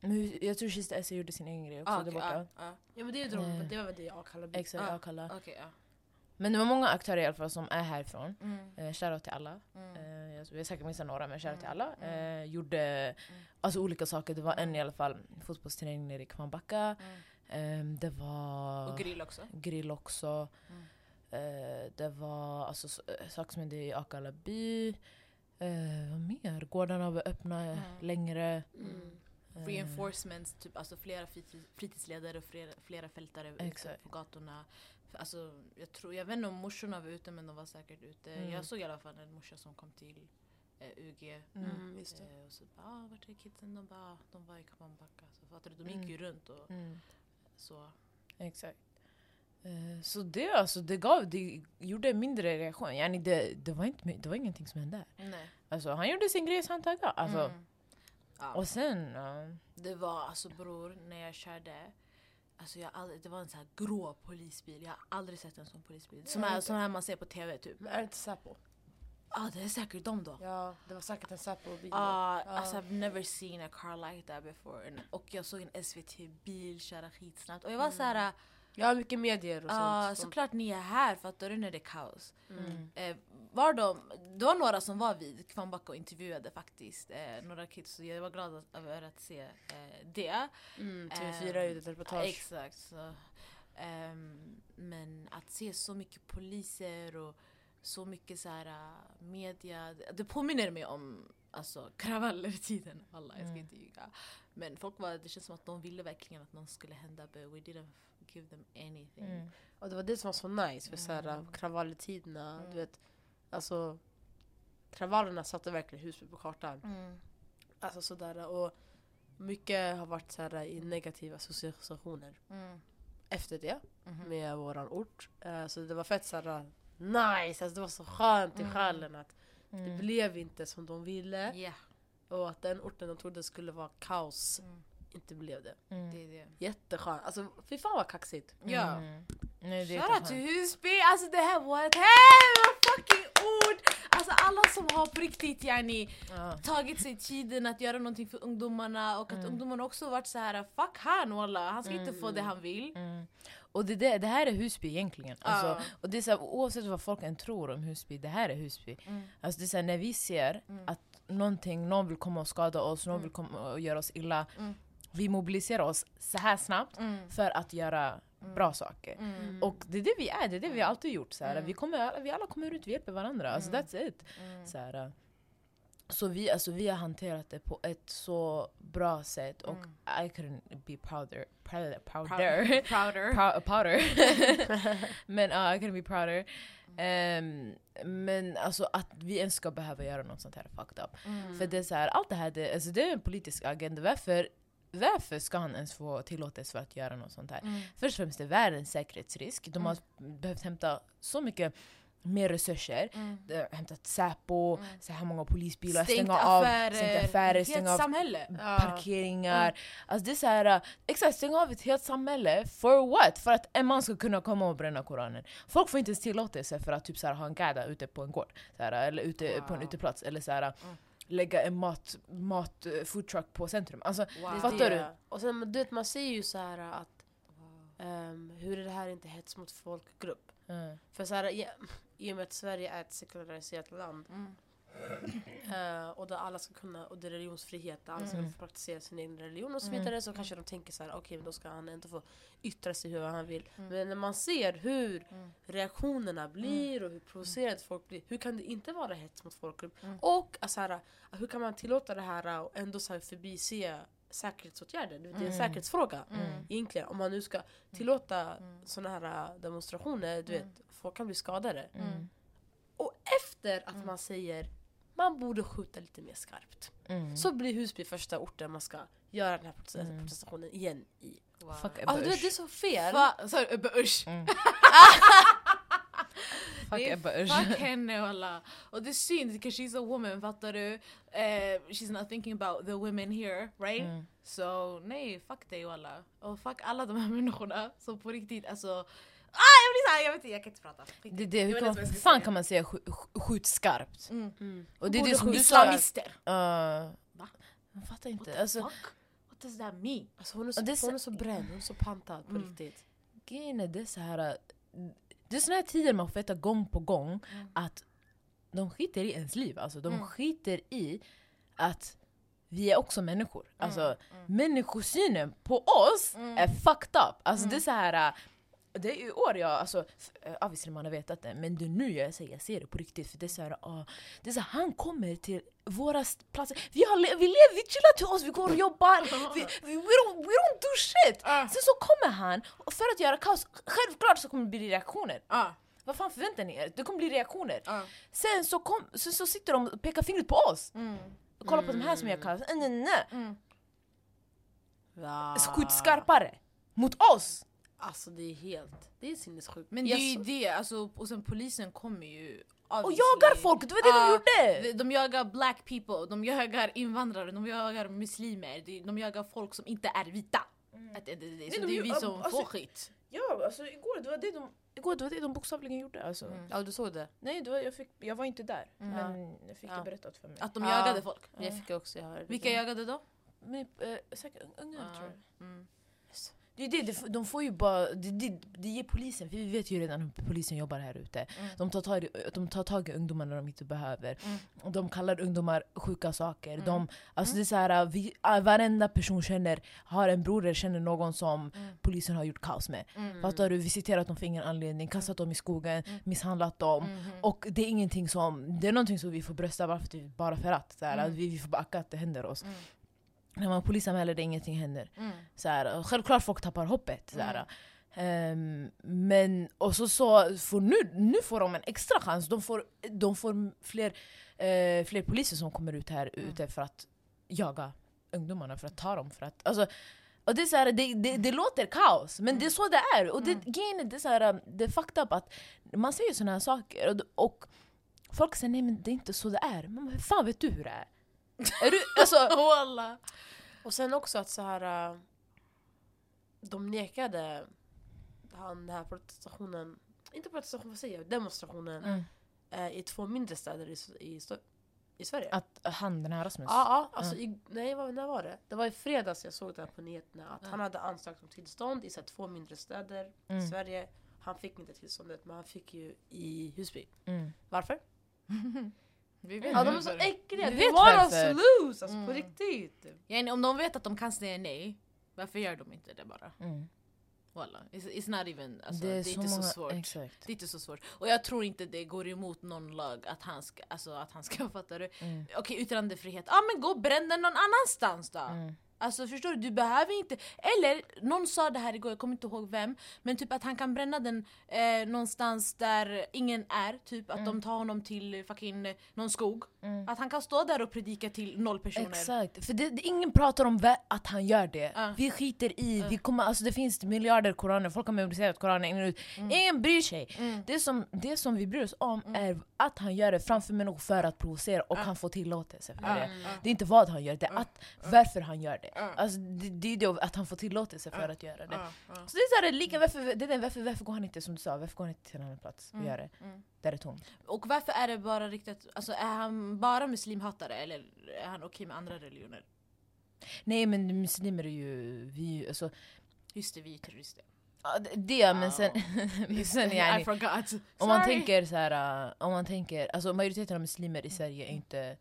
S1: Men Hus- Jag tror Kista SC gjorde sin egen grej också
S3: Ah,
S1: där
S3: okej,
S1: borta.
S3: ah, ah,
S2: Ja men det är ju
S1: Eh.
S2: de, det var väl det jag kallade bygd.
S1: Exakt,
S3: Ah.
S1: jag kallar.
S3: okej, ja.
S1: Men det var många aktörer i alla fall som är härifrån.
S3: Mm,
S1: Eh, Shoutout till alla.
S3: mm.
S1: Eh, jag- jag har säkert missat några men shoutout till alla. Eh, gjorde
S3: Mm.
S1: alltså, olika saker. Det var en i alla fall fotbollsträning nere i Kvarnbacka. Eh, det var
S3: Mm. Och Mm. grill också.
S1: grill också. Eh, det var alltså, s- eh, saker som hände i Akalla by. Eh, vad mer? Gårdarna var öppna längre.
S2: Mm.
S1: Eh.
S3: Reinforcements, typ, alltså flera fritids- fritidsledare och flera, flera fältare ute
S1: Exakt.
S3: på gatorna. F- Alltså, jag, tror, jag vet inte om morsorna var ute men de var säkert ute.
S1: Mm.
S3: Jag såg i alla fall en morsa som kom till eh, UG.
S2: Mm, just det.
S3: Eh, och så bara, ah, vart är kidsen? De bara, ah, de var i Kambacka. Så fattar du, de gick ju runt och
S1: Mm.
S3: så.
S1: Exakt. Eh, Så det, alltså, det, gav, det gjorde en mindre reaktion. Yani det, det, var inte, my- det var ingenting som hände.
S3: Nej.
S1: Alltså, han gjorde sin grej så han taggade. Alltså,
S3: Ja.
S1: Och sen... ja.
S3: Mm. Det var alltså bror, när jag körde. Alltså jag har aldrig, det var en sån här grå polisbil. Jag har aldrig sett en sån polisbil. Som här, sån här man ser på TV typ.
S2: Men är det inte Säpo?
S3: Ah, det är säkert de då.
S2: Ja, det var säkert en Säpo-bil.
S3: Ah,
S2: Ja.
S3: alltså I've never seen a car like that before. And, och jag såg en SVT-bil köra skitsnabbt. Och jag var såhär,
S2: Ja, mycket medier och
S3: ah,
S2: sånt.
S3: såklart ni är här fattar du när det är kaos. Eh, var de, det var några som var vid Kvarnbacka och intervjuade faktiskt. Eh, några kids, så jag var glad att- över att se eh, det.
S2: Mm, TV4 gjorde ett reportage.
S3: Exakt. Så. Ehm, men att se så mycket poliser och så mycket så här äh, media. Det- Det påminner mig om alltså, kravallertiden. Alla, jag ska
S1: Mm.
S3: inte ljuga. Men folk var, det känns som att de ville verkligen att något skulle hända but we didn't give them anything.
S1: Mm.
S2: Och det var det som var så nice för såhär
S1: Mm.
S2: kravallertiderna,
S3: Mm.
S2: du vet. Alltså kravallerna satte verkligen Husby på kartan. Alltså sådär och mycket har varit såhär i negativa associationer efter det
S3: Mhm.
S2: med våran ort. Eh, Så det var fett såhär nice, alltså det var så skönt i
S3: Mm.
S2: själen att det
S1: Mm.
S2: blev inte som de ville.
S3: Ja,
S2: Och att den orten de trodde skulle vara kaos
S3: Mm.
S2: inte blev det.
S3: det
S1: Mm.
S3: är det.
S2: Jätteskönt. Alltså fy fan vad kaxigt.
S3: Ja.
S1: Mm. Nej, det är
S3: Shoutout
S1: inte
S3: till
S1: skönt.
S3: Husby! Alltså det här var ett helvete fucking ord! Alltså alla som har på riktigt yani
S1: Ja.
S3: tagit sig tiden att göra någonting för ungdomarna och att
S1: Mm.
S3: ungdomarna också varit så här fuck han walla, han ska inte
S2: Mm,
S3: få det
S2: mm.
S3: han vill.
S1: Mm. Och det, där- det här är Husby egentligen. Alltså,
S3: Ja.
S1: Och det är så här, oavsett vad folk än tror om Husby, det här är Husby.
S3: Mm.
S1: Alltså det är så här, när vi ser
S3: Mm.
S1: att någonting, någon vill komma och skada oss, någon
S3: Mm.
S1: vill komma och göra oss illa.
S3: Mm.
S1: Vi mobiliserar oss så här snabbt
S3: Mm.
S1: för att göra bra saker.
S3: Mm.
S1: Och det är det vi är, det är det vi alltid gjort. Så här.
S3: Mm.
S1: Vi, kommer, alla- vi alla kommer ut, vi hjälper varandra. Alltså,
S3: Mm.
S1: That's it.
S3: Mm.
S1: Så, här. så vi, alltså, vi har hanterat det på ett så bra sätt och I couldn't be prouder. Prouder. prouder.
S3: Mm. Prouder. Mm.
S1: Prou- prouder. men ja, I couldn't be prouder. Ehm, men alltså att vi ens ska behöva göra något sånt här fucked up. Mm.
S3: Mm.
S1: För det är så här, allt det här det, alltså, det är en politisk agenda. Varför, varför ska han ens få tillåtelse för att göra något sånt här?
S3: Mm.
S1: Först och främst är världens säkerhetsrisk. De har behövt hämta så mycket mer resurser.
S3: Mm.
S1: De har hämtat Säpo,
S3: Mm.
S1: så här många polisbilar,
S3: Stängt
S1: stänga av stängt affärer,
S3: Helt
S1: stänga av
S3: samhälle.
S1: parkeringar. Alltså det är så här, äh, exakt, stänga av ett helt samhälle. For what? För att en man ska kunna komma och bränna koranen. Folk får inte ens tillåtelse för att typ så här, ha en gada ute på en gård. Så här, eller ute på en
S2: Wow.
S1: uteplats. Eller så här, lägga en mat, mat, eh, food truck på centrum. Alltså,
S3: Wow.
S2: Det är
S1: Fattar
S2: det. Och sen men du vet man ser ju så här att ehm, hur är det här inte hets mot folkgrupp?
S1: mm,
S2: För så här, i, i och med att Sverige är ett sekulariserat land
S3: Mm.
S2: eh, och där alla ska kunna, och det är religionsfrihet, där alla ska
S1: Mm.
S2: få praktisera sin egen religion och så
S1: Mm.
S2: vidare så kanske de tänker så här: okej men då ska han ändå få yttra sig hur han vill.
S3: Mm.
S2: Men när man ser hur
S3: Mm.
S2: reaktionerna blir och hur provocerade folk blir, hur kan det inte vara hets mot folkgrupp?
S3: Mm.
S2: Och alltså, här, hur kan man tillåta det här eh, och ändå så här, förbise säkerhetsåtgärder? Du vet, Det är en
S1: Mm.
S2: säkerhetsfråga.
S1: Mm.
S2: Egentligen, om man nu ska tillåta
S3: Mm.
S2: såna här eh, demonstrationer, du
S3: Mm.
S2: vet, folk kan bli skadade.
S1: mm,
S2: Efter att man säger man borde skjuta lite mer skarpt.
S1: mm.
S2: Så blir Husby första orten man ska göra den här protest-
S1: Mm.
S2: protestationen igen i.
S3: Wow.
S1: Fuck Ebba
S2: Alltså du vet,
S1: Usch.
S2: det är så fel!
S3: Fa- sorry, Ebba Usch.
S1: Fuck
S3: det är
S1: Ebba Usch.
S3: Fuck henne walla. Och det är synd, because she's a woman fattar du? Eh, she's not thinking about the women here right?
S1: Mm.
S3: So nej, fuck dig walla. Och fuck alla de här människorna som på riktigt alltså... Ah, jag blir såhär, jag vet inte, jag kan inte prata.
S1: Det, det, hur
S3: vet
S1: kan,
S3: inte vad jag ska
S1: fan
S3: säga.
S1: kan man säga sk, sk, skjut skarpt?
S3: Mm.
S2: Mm.
S1: Och det är
S2: Borde
S1: det som du
S2: skjuta
S1: sa.
S2: skarpt.
S3: Islamister!
S1: Uh,
S3: Va?
S1: jag fattar
S3: What
S1: inte.
S3: the
S1: Alltså,
S3: fuck? What does that mean?
S2: Alltså, hon, är
S1: Och
S2: så,
S1: det är så-
S2: hon är så bränd, hon är så pantad på
S3: Mm.
S2: riktigt.
S1: grejen är det är så här. äh, Det är såna här tider man får veta gång på gång
S3: Mm.
S1: att de skiter i ens liv. Alltså, de
S3: Mm.
S1: skiter i att vi är också människor. Alltså, Människosynen på oss
S3: Mm.
S1: är fucked up. Alltså,
S3: Mm.
S1: Det är så här. äh, Det är i år jag, alltså, f- äh, obviously man har vetat det, men det är nu jag säger, jag ser det på riktigt. För det är så här, ah, det är så här han kommer till våra st- platser, vi, har le- vi lever, vi chillar till oss, vi går och jobbar, vi, vi, we, don't, we don't do shit!
S3: Ah.
S1: Sen så kommer han, och för att göra kaos, självklart så kommer det bli reaktioner.
S3: Ah,
S1: Vad fan förväntar ni er? Det kommer bli reaktioner.
S3: ah.
S1: Sen så, kom, sen så sitter de och pekar fingret på oss.
S3: Mm.
S1: Kolla på de här som gör kaos. Nej, nej, nej.
S3: Mm.
S2: Va?
S1: Skjut skarpare! Mot oss!
S2: Alltså det är helt, det är sinnessjukt.
S3: Men det är ju
S2: Jaså?
S3: det, alltså, och sen polisen kommer ju...
S1: Och jagar folk! Det var det
S3: Ah,
S1: de gjorde!
S3: De, de jagar black people, de jagar invandrare, de jagar muslimer, de, de jagar folk som inte är vita. Att, det, det, det, så
S1: Mm. de
S3: det är
S1: ju-
S3: vi
S1: ab-
S3: som
S1: alltså-
S3: får skit.
S1: Ja, alltså igår det var det de, igår, det var det de bokstavligen gjorde. Alltså.
S3: Mm.
S2: Ja du såg det?
S1: Nej, det var, jag, fick, jag var inte där.
S3: Mm.
S1: Men jag fick
S2: Ja.
S1: det berättat för mig.
S3: Att de
S2: Ja.
S3: jagade folk.
S1: Ja.
S2: Jag fick också, jag hörde
S3: Vilka jagade då?
S1: Men, eh, säkert unga
S3: Ja.
S1: tror jag.
S3: Mm.
S1: Det är det, det, f- de får ju bara, det, det, det ger polisen, för vi vet ju redan hur polisen jobbar här ute.
S3: Mm.
S1: De, tar tag, i- de tar tag i ungdomar när de inte behöver.
S3: Mm.
S1: Och De kallar ungdomar sjuka saker.
S3: Mm.
S1: De, alltså det är så här, vi, ah, varenda person känner, har en bror eller känner någon som
S3: Mm.
S1: polisen har gjort kaos med.
S3: Mm.
S1: Fattar du? Visiterat dem för ingen anledning, kastat dem i skogen, misshandlat dem.
S3: Mhm.
S1: Och det är ingenting som, det är någonting som vi får brösta bara för att, vi- bara för att, så här,
S3: Mm.
S1: att vi, vi får backa att det händer oss.
S3: Mm.
S1: När man polisanmäler det, ingenting händer.
S3: Mm.
S1: Så här, och självklart folk tappar hoppet. Så här.
S3: Mm.
S1: Ehm, men och så, så får nu, nu får de en extra chans. De får, de får fler, eh, fler poliser som kommer ut här
S3: Mm.
S1: ute för att jaga ungdomarna, för att ta dem. För att, alltså, och det, är så här, det, det, det låter kaos, men det är så det är. Och det,
S3: Mm.
S1: grejen är, det är, så här, det är fucked up att man säger såna här saker och, och folk säger nej men det är inte så det är. Men hur fan vet du hur det är? är du, alltså,
S3: Walla.
S2: Och sen också att så här äh, de nekade han den här protestationen, inte protestationen, vad säger jag, demonstrationen
S1: Mm.
S2: eh, i två mindre städer i, S- i, Sto- i Sverige. Ja,
S1: att han den här Rasmus.
S2: ja alltså i, nej vad, när var det? Det var i fredags jag såg det här på nyheterna att
S3: Ja.
S2: han hade ansökt om tillstånd i så här, två mindre städer i
S1: Mm.
S2: Sverige. Han fick inte tillståndet men han fick ju i Husby.
S1: Mm.
S2: Varför?
S3: Vi vet
S2: Ja
S3: ju
S2: de är så
S3: varför.
S2: äckliga,
S1: Vi
S2: det
S1: vet
S2: var de
S1: varför.
S2: slus alltså
S3: Mm.
S2: på riktigt.
S3: Yani, om de vet att de kan säga nej, varför gör de inte det bara?
S1: Mm.
S3: Walla. It's, it's not even, alltså, det är, inte så svårt.
S1: Exakt.
S3: Det är inte så svårt. Och jag tror inte det går emot någon lag att han ska, alltså, att han ska fatta det.
S1: Mm.
S3: Okej, yttrandefrihet. Ja ah, men gå och bränn den någon annanstans då!
S1: Mm.
S3: Alltså förstår du, du behöver inte... Eller, någon sa det här igår, jag kommer inte ihåg vem Men typ att han kan bränna den eh, någonstans där ingen är Typ att de tar honom till eh, fucking eh, någon skog
S1: Mm.
S3: Att han kan stå där och predika till noll personer
S1: Exakt, för det, det, ingen pratar om vä- att han gör det.
S3: Ja.
S1: Vi skiter i, vi kommer, alltså det finns miljarder koraner, folk har memoriserat koranen in och ut.
S3: Mm.
S1: Ingen bryr sig. Det, som, det som vi bryr oss om är att han gör det framför människor för att provocera och han får tillåtelse för det. Det är inte vad han gör, det är att, varför han gör det. Alltså, det, det är ju det att han får tillåtelse för att göra det. Så det är så här, lika, varför, det är den, varför, varför går han inte, som du sa, varför går han inte till en annan plats
S3: Mm.
S1: och gör det? Där det är tomt.
S3: Och varför är det bara riktat... Alltså är han bara muslimhatare eller är han okej med andra religioner?
S1: Nej men muslimer är ju, vi, är ju- alltså,
S3: Just det, vi är terrorister
S1: ja, det- det men sen, men sen yani,
S3: I forgot! Sorry.
S1: om man tänker så här, äh, om man tänker, alltså majoriteten av muslimer
S3: Mm,
S1: i Sverige är inte,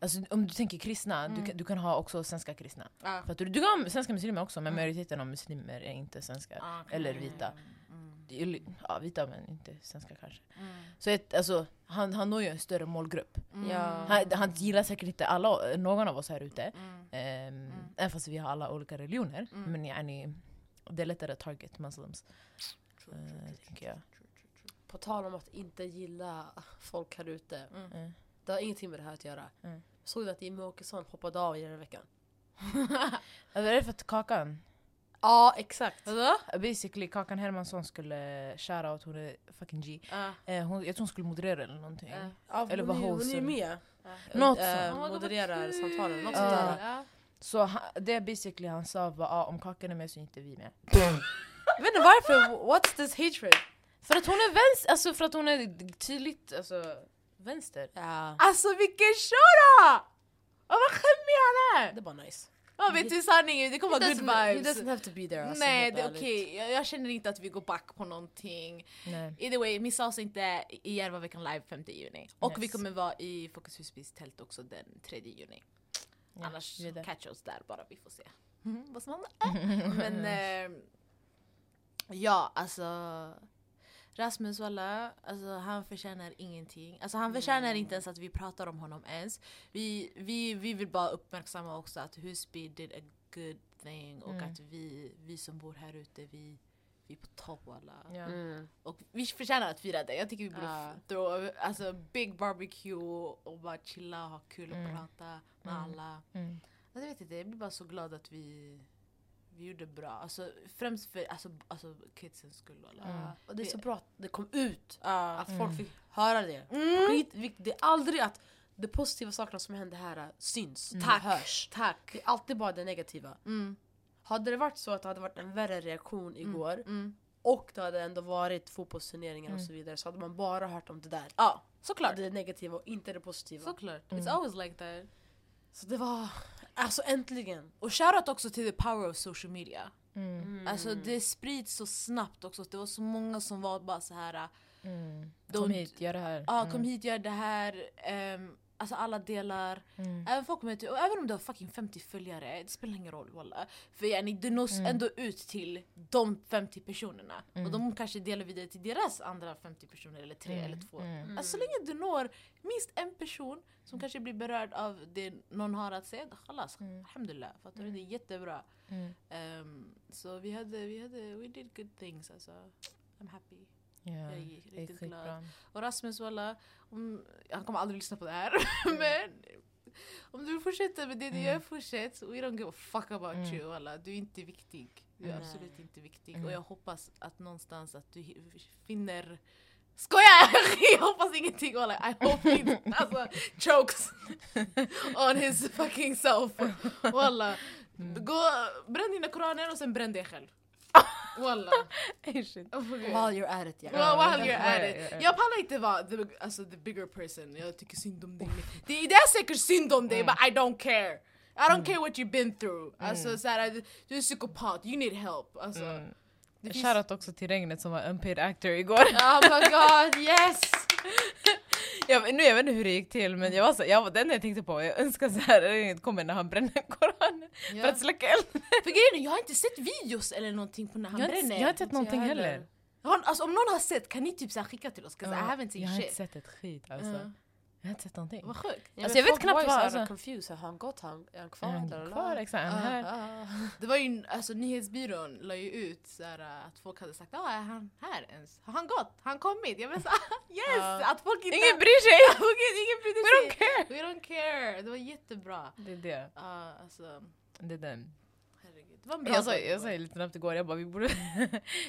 S1: alltså om du tänker kristna, du, kan, du kan ha också svenska kristna.
S3: Ja.
S1: För att du, du kan ha svenska muslimer också
S3: Mm.
S1: men majoriteten av muslimer är inte svenska.
S3: Ah, okej.
S1: Eller vita.
S3: Mm.
S1: Det är ju- Ja, vita men inte svenska kanske.
S3: Mm.
S1: Så ett, alltså, han, han når ju en större målgrupp.
S2: Ja.
S1: Han, han gillar säkert inte alla, någon av oss här ute.
S3: Mm.
S1: Ehm, Även fast vi har alla olika religioner.
S3: Mm.
S1: Men yani, det är lättare att target muslims.
S2: True,
S1: eh,
S2: true, true,
S1: tänker jag.
S2: true, true, true. På tal om att inte gilla folk här ute.
S3: Mm.
S1: Mm.
S2: Det har ingenting med det här att göra.
S1: Mm.
S2: Såg du att Jimmie Åkesson hoppade av i den här veckan?
S1: Alltså, är det för att Kakan,
S2: Ja, exakt.
S3: Vadå?
S1: basically Kakan Hermansson skulle, shoutout, hon är fucking G.
S3: Ah,
S1: Eh, hon, jag tror hon skulle moderera eller någonting.
S3: ah.
S2: Ja,
S1: Eller
S2: hon,
S1: vad
S2: är- hon är ju
S1: hosen.
S2: med.
S1: Något
S2: Eh,
S1: sånt.
S3: Oh my God,
S2: modererar
S3: vad
S2: samtalen. Något
S3: kul.
S2: sånt
S1: Ja.
S2: där.
S3: Ja.
S1: Så ha, det basically han sa var ah, om Kakan är med så är inte vi med.
S2: Jag vet inte varför, what's this hatred?
S1: För att hon är vänster, alltså för att hon är tydligt alltså, vänster.
S2: Ja,
S3: Alltså vilken shura! Oh, vad skämmig han är!
S2: det var nice.
S3: Oh, vet du sanningen, det kommer vara good
S2: Doesn't- He
S3: vibes.
S2: doesn't have to be there. Alltså,
S3: Nej,
S2: helt
S3: det är
S2: ärligt.
S3: okej. Jag, jag känner inte att vi går back på någonting.
S1: Nej.
S3: Either way, missa oss inte i Järvaveckan live 5 juni. Och vi
S1: Yes.
S3: kommer vara i Fokus Husbys tält också den 3 juni.
S1: Ja,
S3: Annars
S1: vi är där.
S3: catch oss där bara, vi får se. Mm, vad som händer. Men eh, ja, alltså Rasmus Walla, alltså, han förtjänar ingenting. Alltså, han förtjänar inte ens att vi pratar om honom ens. Vi, vi, vi vill bara uppmärksamma också att Husby did a good thing och
S1: Mm.
S3: att vi, vi som bor här ute, vi, vi är på topp alla.
S1: Ja.
S2: Mm.
S3: Och vi förtjänar att fira det. Jag tycker vi borde
S2: Ja.
S3: f- throw, alltså big barbecue och bara chilla, ha kul och
S1: Mm.
S3: prata med
S1: Mm.
S3: alla.
S1: Mm.
S3: Alltså, jag vet inte, jag blir bara så glad att vi, vi gjorde bra. Alltså, främst för alltså, alltså, kidsens skull. Alla.
S1: Mm. Alltså.
S2: Och det är så bra att det kom ut,
S3: Ja.
S2: att folk fick höra det.
S1: Mm.
S2: Skitviktigt, det är aldrig att de positiva sakerna som händer här äh, syns,
S1: Mm.
S2: Tack. hörs.
S3: Tack!
S2: Det är alltid bara det negativa.
S3: Mm.
S2: Hade det varit så att det hade varit en värre reaktion igår
S3: Mm.
S2: och det hade ändå varit fotbollsturneringar och
S1: Mm.
S2: så vidare så hade man bara hört om det där.
S3: Ja, såklart.
S2: Det negativa och inte det positiva. Så,
S3: Såklart.
S1: Mm.
S3: It's always like that.
S2: det var... Alltså äntligen!
S3: Och shoutout också till the power of social media.
S1: Mm.
S3: Alltså det sprids så snabbt också. Det var så många som var bara så här.
S1: Mm. Kom
S3: Don't-
S1: hit, gör det här.
S3: ah,
S1: Mm.
S3: kom hit, gör det här. ehm, alltså alla delar.
S1: Mm.
S3: Även folk med, och även om du har fucking 50 följare, det spelar ingen roll walla. För yani, du nås
S1: Mm.
S3: ändå ut till de 50 personerna.
S1: Mm.
S3: Och de kanske delar vidare till deras andra 50 personer, eller tre
S1: Mm,
S3: eller två.
S1: mm.
S3: Alltså, så länge du når minst en person som kanske blir berörd av det någon har att säga, khalas,
S1: Mm.
S3: alhamdulillah. Fattar du? Det är jättebra.
S1: Mm.
S3: Ehm, så vi hade, vi hade, we did good things alltså. I'm happy.
S1: Ja,
S3: Jag är
S1: det gick
S3: riktigt glad.
S1: skitbra. Mm.
S3: Och Rasmus Walla, om, han kommer aldrig lyssna på det här.
S1: Mm.
S3: men om du fortsätter med det du gör, fortsätt. We don't give a fuck about
S1: Mm.
S3: you Walla. Du är inte viktig. Du är
S2: Nej.
S3: absolut inte viktig.
S1: Mm.
S3: Och jag hoppas att någonstans att du hi- finner Skojar! Jag hoppas ingenting walla, I hope he alltså, chokes on his fucking self Walla,
S1: Mm.
S3: gå, bränn dina koraner och sen bränn dig själv Walla Oh
S1: Ey, shit.
S2: While you're at it
S1: Ja,
S2: yeah.
S3: Well, while
S1: ja,
S3: you're
S1: ja,
S3: at
S1: ja, ja.
S3: it. Jag pallar inte vara the, alltså, the bigger person, jag tycker synd om dig. Det, det är säkert synd om
S1: Mm.
S3: dig, but I don't care. I don't care what you've been through. Alltså, såhär, du- du är psykopat, you need help. Alltså,
S1: Mm.
S3: det finns...
S1: Shoutout också till Regnet som var unpaid actor igår.
S2: Oh my god yes!
S1: Jag, nu, jag vet inte hur det gick till men jag var så, jag var den jag tänkte på, jag önskar så här Regnet kommer när han bränner koranen
S3: Ja.
S1: för att släcka elden.
S3: För grejen är, jag har inte sett videos eller någonting på när han
S1: Jag har inte-
S3: bränner.
S1: jag har inte sett någonting heller.
S3: Har- alltså, om någon har sett, kan ni typ såhär, skicka till oss? 'Cause I haven't seen
S1: jag har inte
S3: shit.
S1: sett ett skit alltså.
S3: Ja.
S1: Jag har inte sett någonting.
S3: Vad sjukt.
S2: Ja, men
S1: Alltså, jag vet
S2: folk
S1: knappt
S2: var ju
S1: vad-
S2: så
S1: alltså-
S2: jävla confused, har han gått? Har han, är han kvar?
S1: Är
S2: La, la,
S1: han
S2: la.
S1: kvar exakt? Är han här?
S2: Ah, ah.
S3: Det var ju, alltså nyhetsbyrån la ju ut såhär, att folk hade sagt ah, är han här ens? Har han gått? Har han kommit? Jag blev såhär ah, yes!
S2: Ja.
S3: Att folk inte...
S1: Ingen bryr sig!
S3: Ingen brydde
S1: We don't
S3: sig.
S1: care!
S3: We don't care! Det var jättebra.
S1: Det är det.
S3: Ja, alltså,
S1: Det är den.
S3: herregud. Det var en bra
S1: Jag sa,
S3: podd.
S1: jag sa ju lite snabbt igår, jag bara vi borde,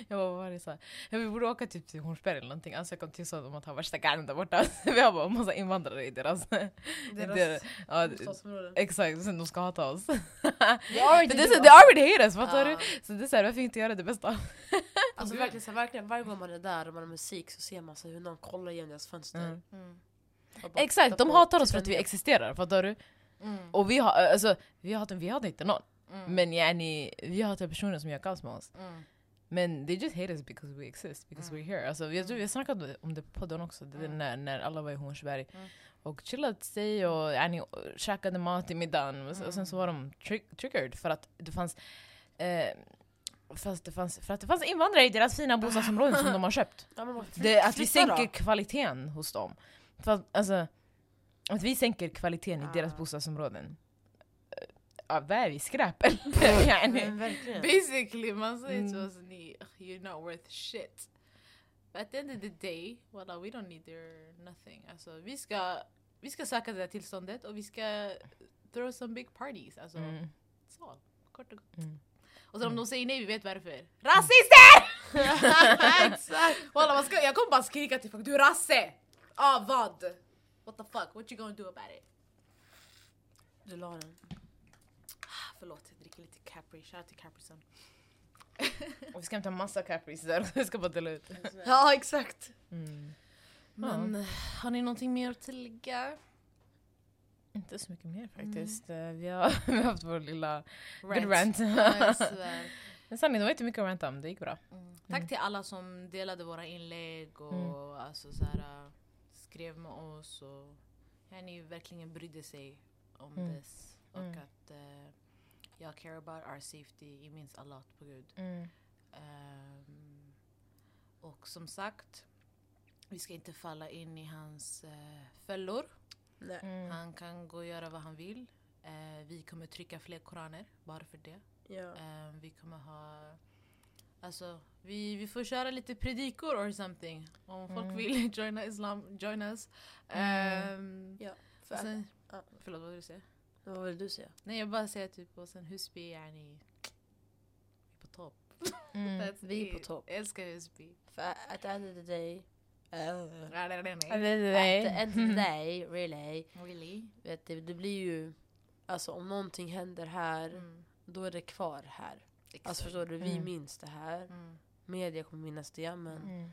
S1: jag bara, vad var det jag sa? Ja, vi borde åka typ till Hornsberg eller någonting, ansöka om tillstånd om att ha värsta garden där borta. Vi har bara massa invandrare i deras...
S3: Deras
S1: det- ja,
S3: bostadsområden.
S1: exakt, sen de ska hata oss.
S2: They already
S1: Men
S2: do
S1: det är så,
S2: it.
S1: they already hate us, fattar
S2: Ja.
S1: du? Så det är såhär, varför inte göra det bästa?
S2: Alltså
S3: Gud.
S2: verkligen, så här, verkligen, varje gång man är där och man har musik så ser man så hur någon kollar genom deras fönster.
S1: Mm.
S3: Mm.
S2: Och bara
S1: Exakt,
S2: tittar
S1: de
S2: på-
S1: hatar oss för
S2: tittar
S1: att vi
S2: ner.
S1: existerar, fattar du?
S3: Mm.
S1: Och vi har, alltså, vi hatar, vi hatar inte någon.
S3: Mm.
S1: Men yani, vi hatar personer som gör kaos med oss.
S3: Mm.
S1: Men they just hate us because we exist, because we're here. Alltså, jag tror vi har snackat om det på podden också, det där när, när alla var i Hornsberg.
S3: Mm.
S1: Och chillat sig och yani, och käkade mat i middagen. Och, s- och sen så var de tri- triggered för att det fanns eh, Fast det fanns, för att det fanns invandrare i deras fina bostadsområden som de har köpt.
S2: Ja, men varför-
S1: Det, att vi
S2: flytta då.
S1: sänker kvaliteten hos dem. För att, alltså, att vi sänker kvaliteten i deras
S2: Ah.
S1: bostadsområden. Eh, Ja, vad är vi? Skräp? eller? Yani.
S2: Men verkligen.
S3: Basically, man säger till
S1: Mm.
S3: oss ni, "Ugh, e- you're not worth shit. But at the end of the day, voilà, we don't need their nothing. Alltså, vi, ska, vi ska söka det där tillståndet och vi ska throw some big parties. Alltså,
S1: Mm.
S3: så, kort och gott.
S1: Mm.
S3: Och sen om de säger nej, vi vet varför. Rasister! Exakt! Walla, man ska, jag kommer bara skrika till folk, du är rasse! Ah, vad? What the fuck, what you gonna do about it?
S2: Du la den.
S3: Ah, Förlåt, jag dricker lite Capri, shoutout till Capri Sun.
S1: Och vi ska hämta massa Capris där, vi ska bara dela ut.
S2: Ja exakt.
S1: Mm.
S3: Men har ni någonting mer att tillägga?
S1: Inte så mycket mer faktiskt. Eh, Vi, har, vi har haft vår lilla
S3: Rant.
S1: good rant.
S3: Ja, jag svär. Mm.
S1: Men sanningen, det var inte mycket att ranta om, det gick bra. Mm.
S3: Tack till alla som delade våra inlägg och alltså så här, äh, skrev med oss. Och, ja, ni verkligen brydde sig om
S1: Mm.
S3: this. Och
S1: Mm.
S3: att eh, jag care about our safety, it means a lot på gud.
S1: Mm.
S3: Ehm, och som sagt, vi ska inte falla in i hans eh, fällor.
S2: Nej.
S1: Mm.
S3: Han kan gå och göra vad han vill. Eh, vi kommer trycka fler koraner, bara för det.
S2: Ja.
S3: Ehm, vi kommer ha... Alltså, vi, vi får köra lite predikor or something. Om folk
S1: Mm.
S3: vill joina islam, join us.
S1: Mm.
S3: Ehm,
S2: För
S3: och
S2: att,
S3: sen,
S2: ja.
S3: förlåt, vad vill du säga?
S2: vad vill du säga?
S3: Nej, jag bara säger typ, och sen Husby, yani... På topp.
S1: Mm.
S3: That's
S2: vi är
S3: it.
S2: på topp.
S3: Jag älskar Husby.
S2: För at the end of the day. Uh,
S3: Nej, nej, nej,
S1: Ja,
S3: nej.
S1: det- det-
S2: At
S1: det-
S2: the end of the day really.
S3: Really?
S2: Vet du, det blir ju. Alltså om någonting händer här.
S3: Mm.
S2: Då är det kvar här. Alltså
S3: Exakt.
S2: förstår du, vi
S1: Mm.
S2: minns det här.
S3: Mm.
S2: Media kommer minnas det men.
S1: Mm.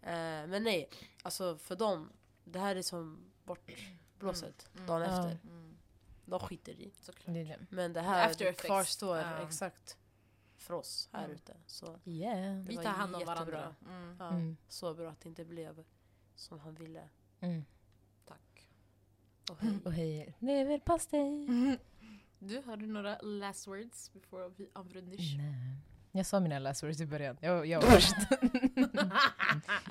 S2: Eh, men nej, alltså för dem. Det här är som bortblåset
S3: Mm.
S2: dagen
S1: Ja.
S2: efter.
S3: Mm.
S2: De skiter i.
S3: Såklart.
S1: Det är det.
S2: Men det här
S3: After
S2: det
S3: effects.
S2: kvarstår.
S3: Ja.
S2: Exakt. för oss här
S3: Mm.
S2: ute. Så,
S1: Yeah.
S2: Det
S3: Vi
S2: var
S3: tar hand om
S2: jättebra.
S3: varandra. Mm.
S2: ja,
S1: Mm.
S2: så bra att det inte blev som han ville.
S1: Mm.
S2: Tack. Och hej.
S1: Och hej, leverpastej!
S3: Du, har du några last words before vi avrundar?
S1: Nej. Jag sa mina last words i början. Jag, jag var först.
S3: Mm.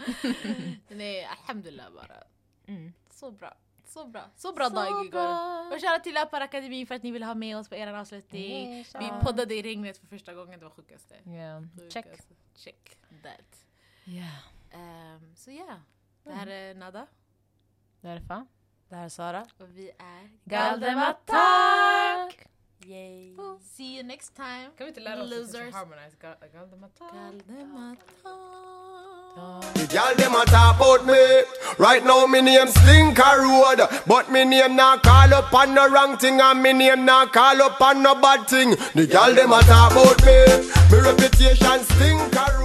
S3: Nej, alhamdulillah bara.
S1: Mm.
S3: Så bra. Så bra. Så bra dag igår. Och shoutout till Apparakademin för att ni ville ha med oss på er avslutning. Vi poddade i regnet för första gången, det var sjukaste.
S1: Yeah. Check.
S3: Sjukaste. Check that.
S1: Yeah.
S3: Ehm, så ja, det här är Nada
S1: Därför.
S2: Det här är Sara.
S3: och vi är
S1: Galdematak!
S2: Yay.
S3: See you next time.
S1: Kan vi inte lära oss
S3: Losers.
S1: att harmonize? Gal- Galdematak.
S3: Galdematak.
S4: The girl dem a talk about me. Right now me name Slinker Road, but me name not call up on no wrong thing, and me name not call up on no bad thing. The girl dem a talk about me. Me reputation Slinker Road.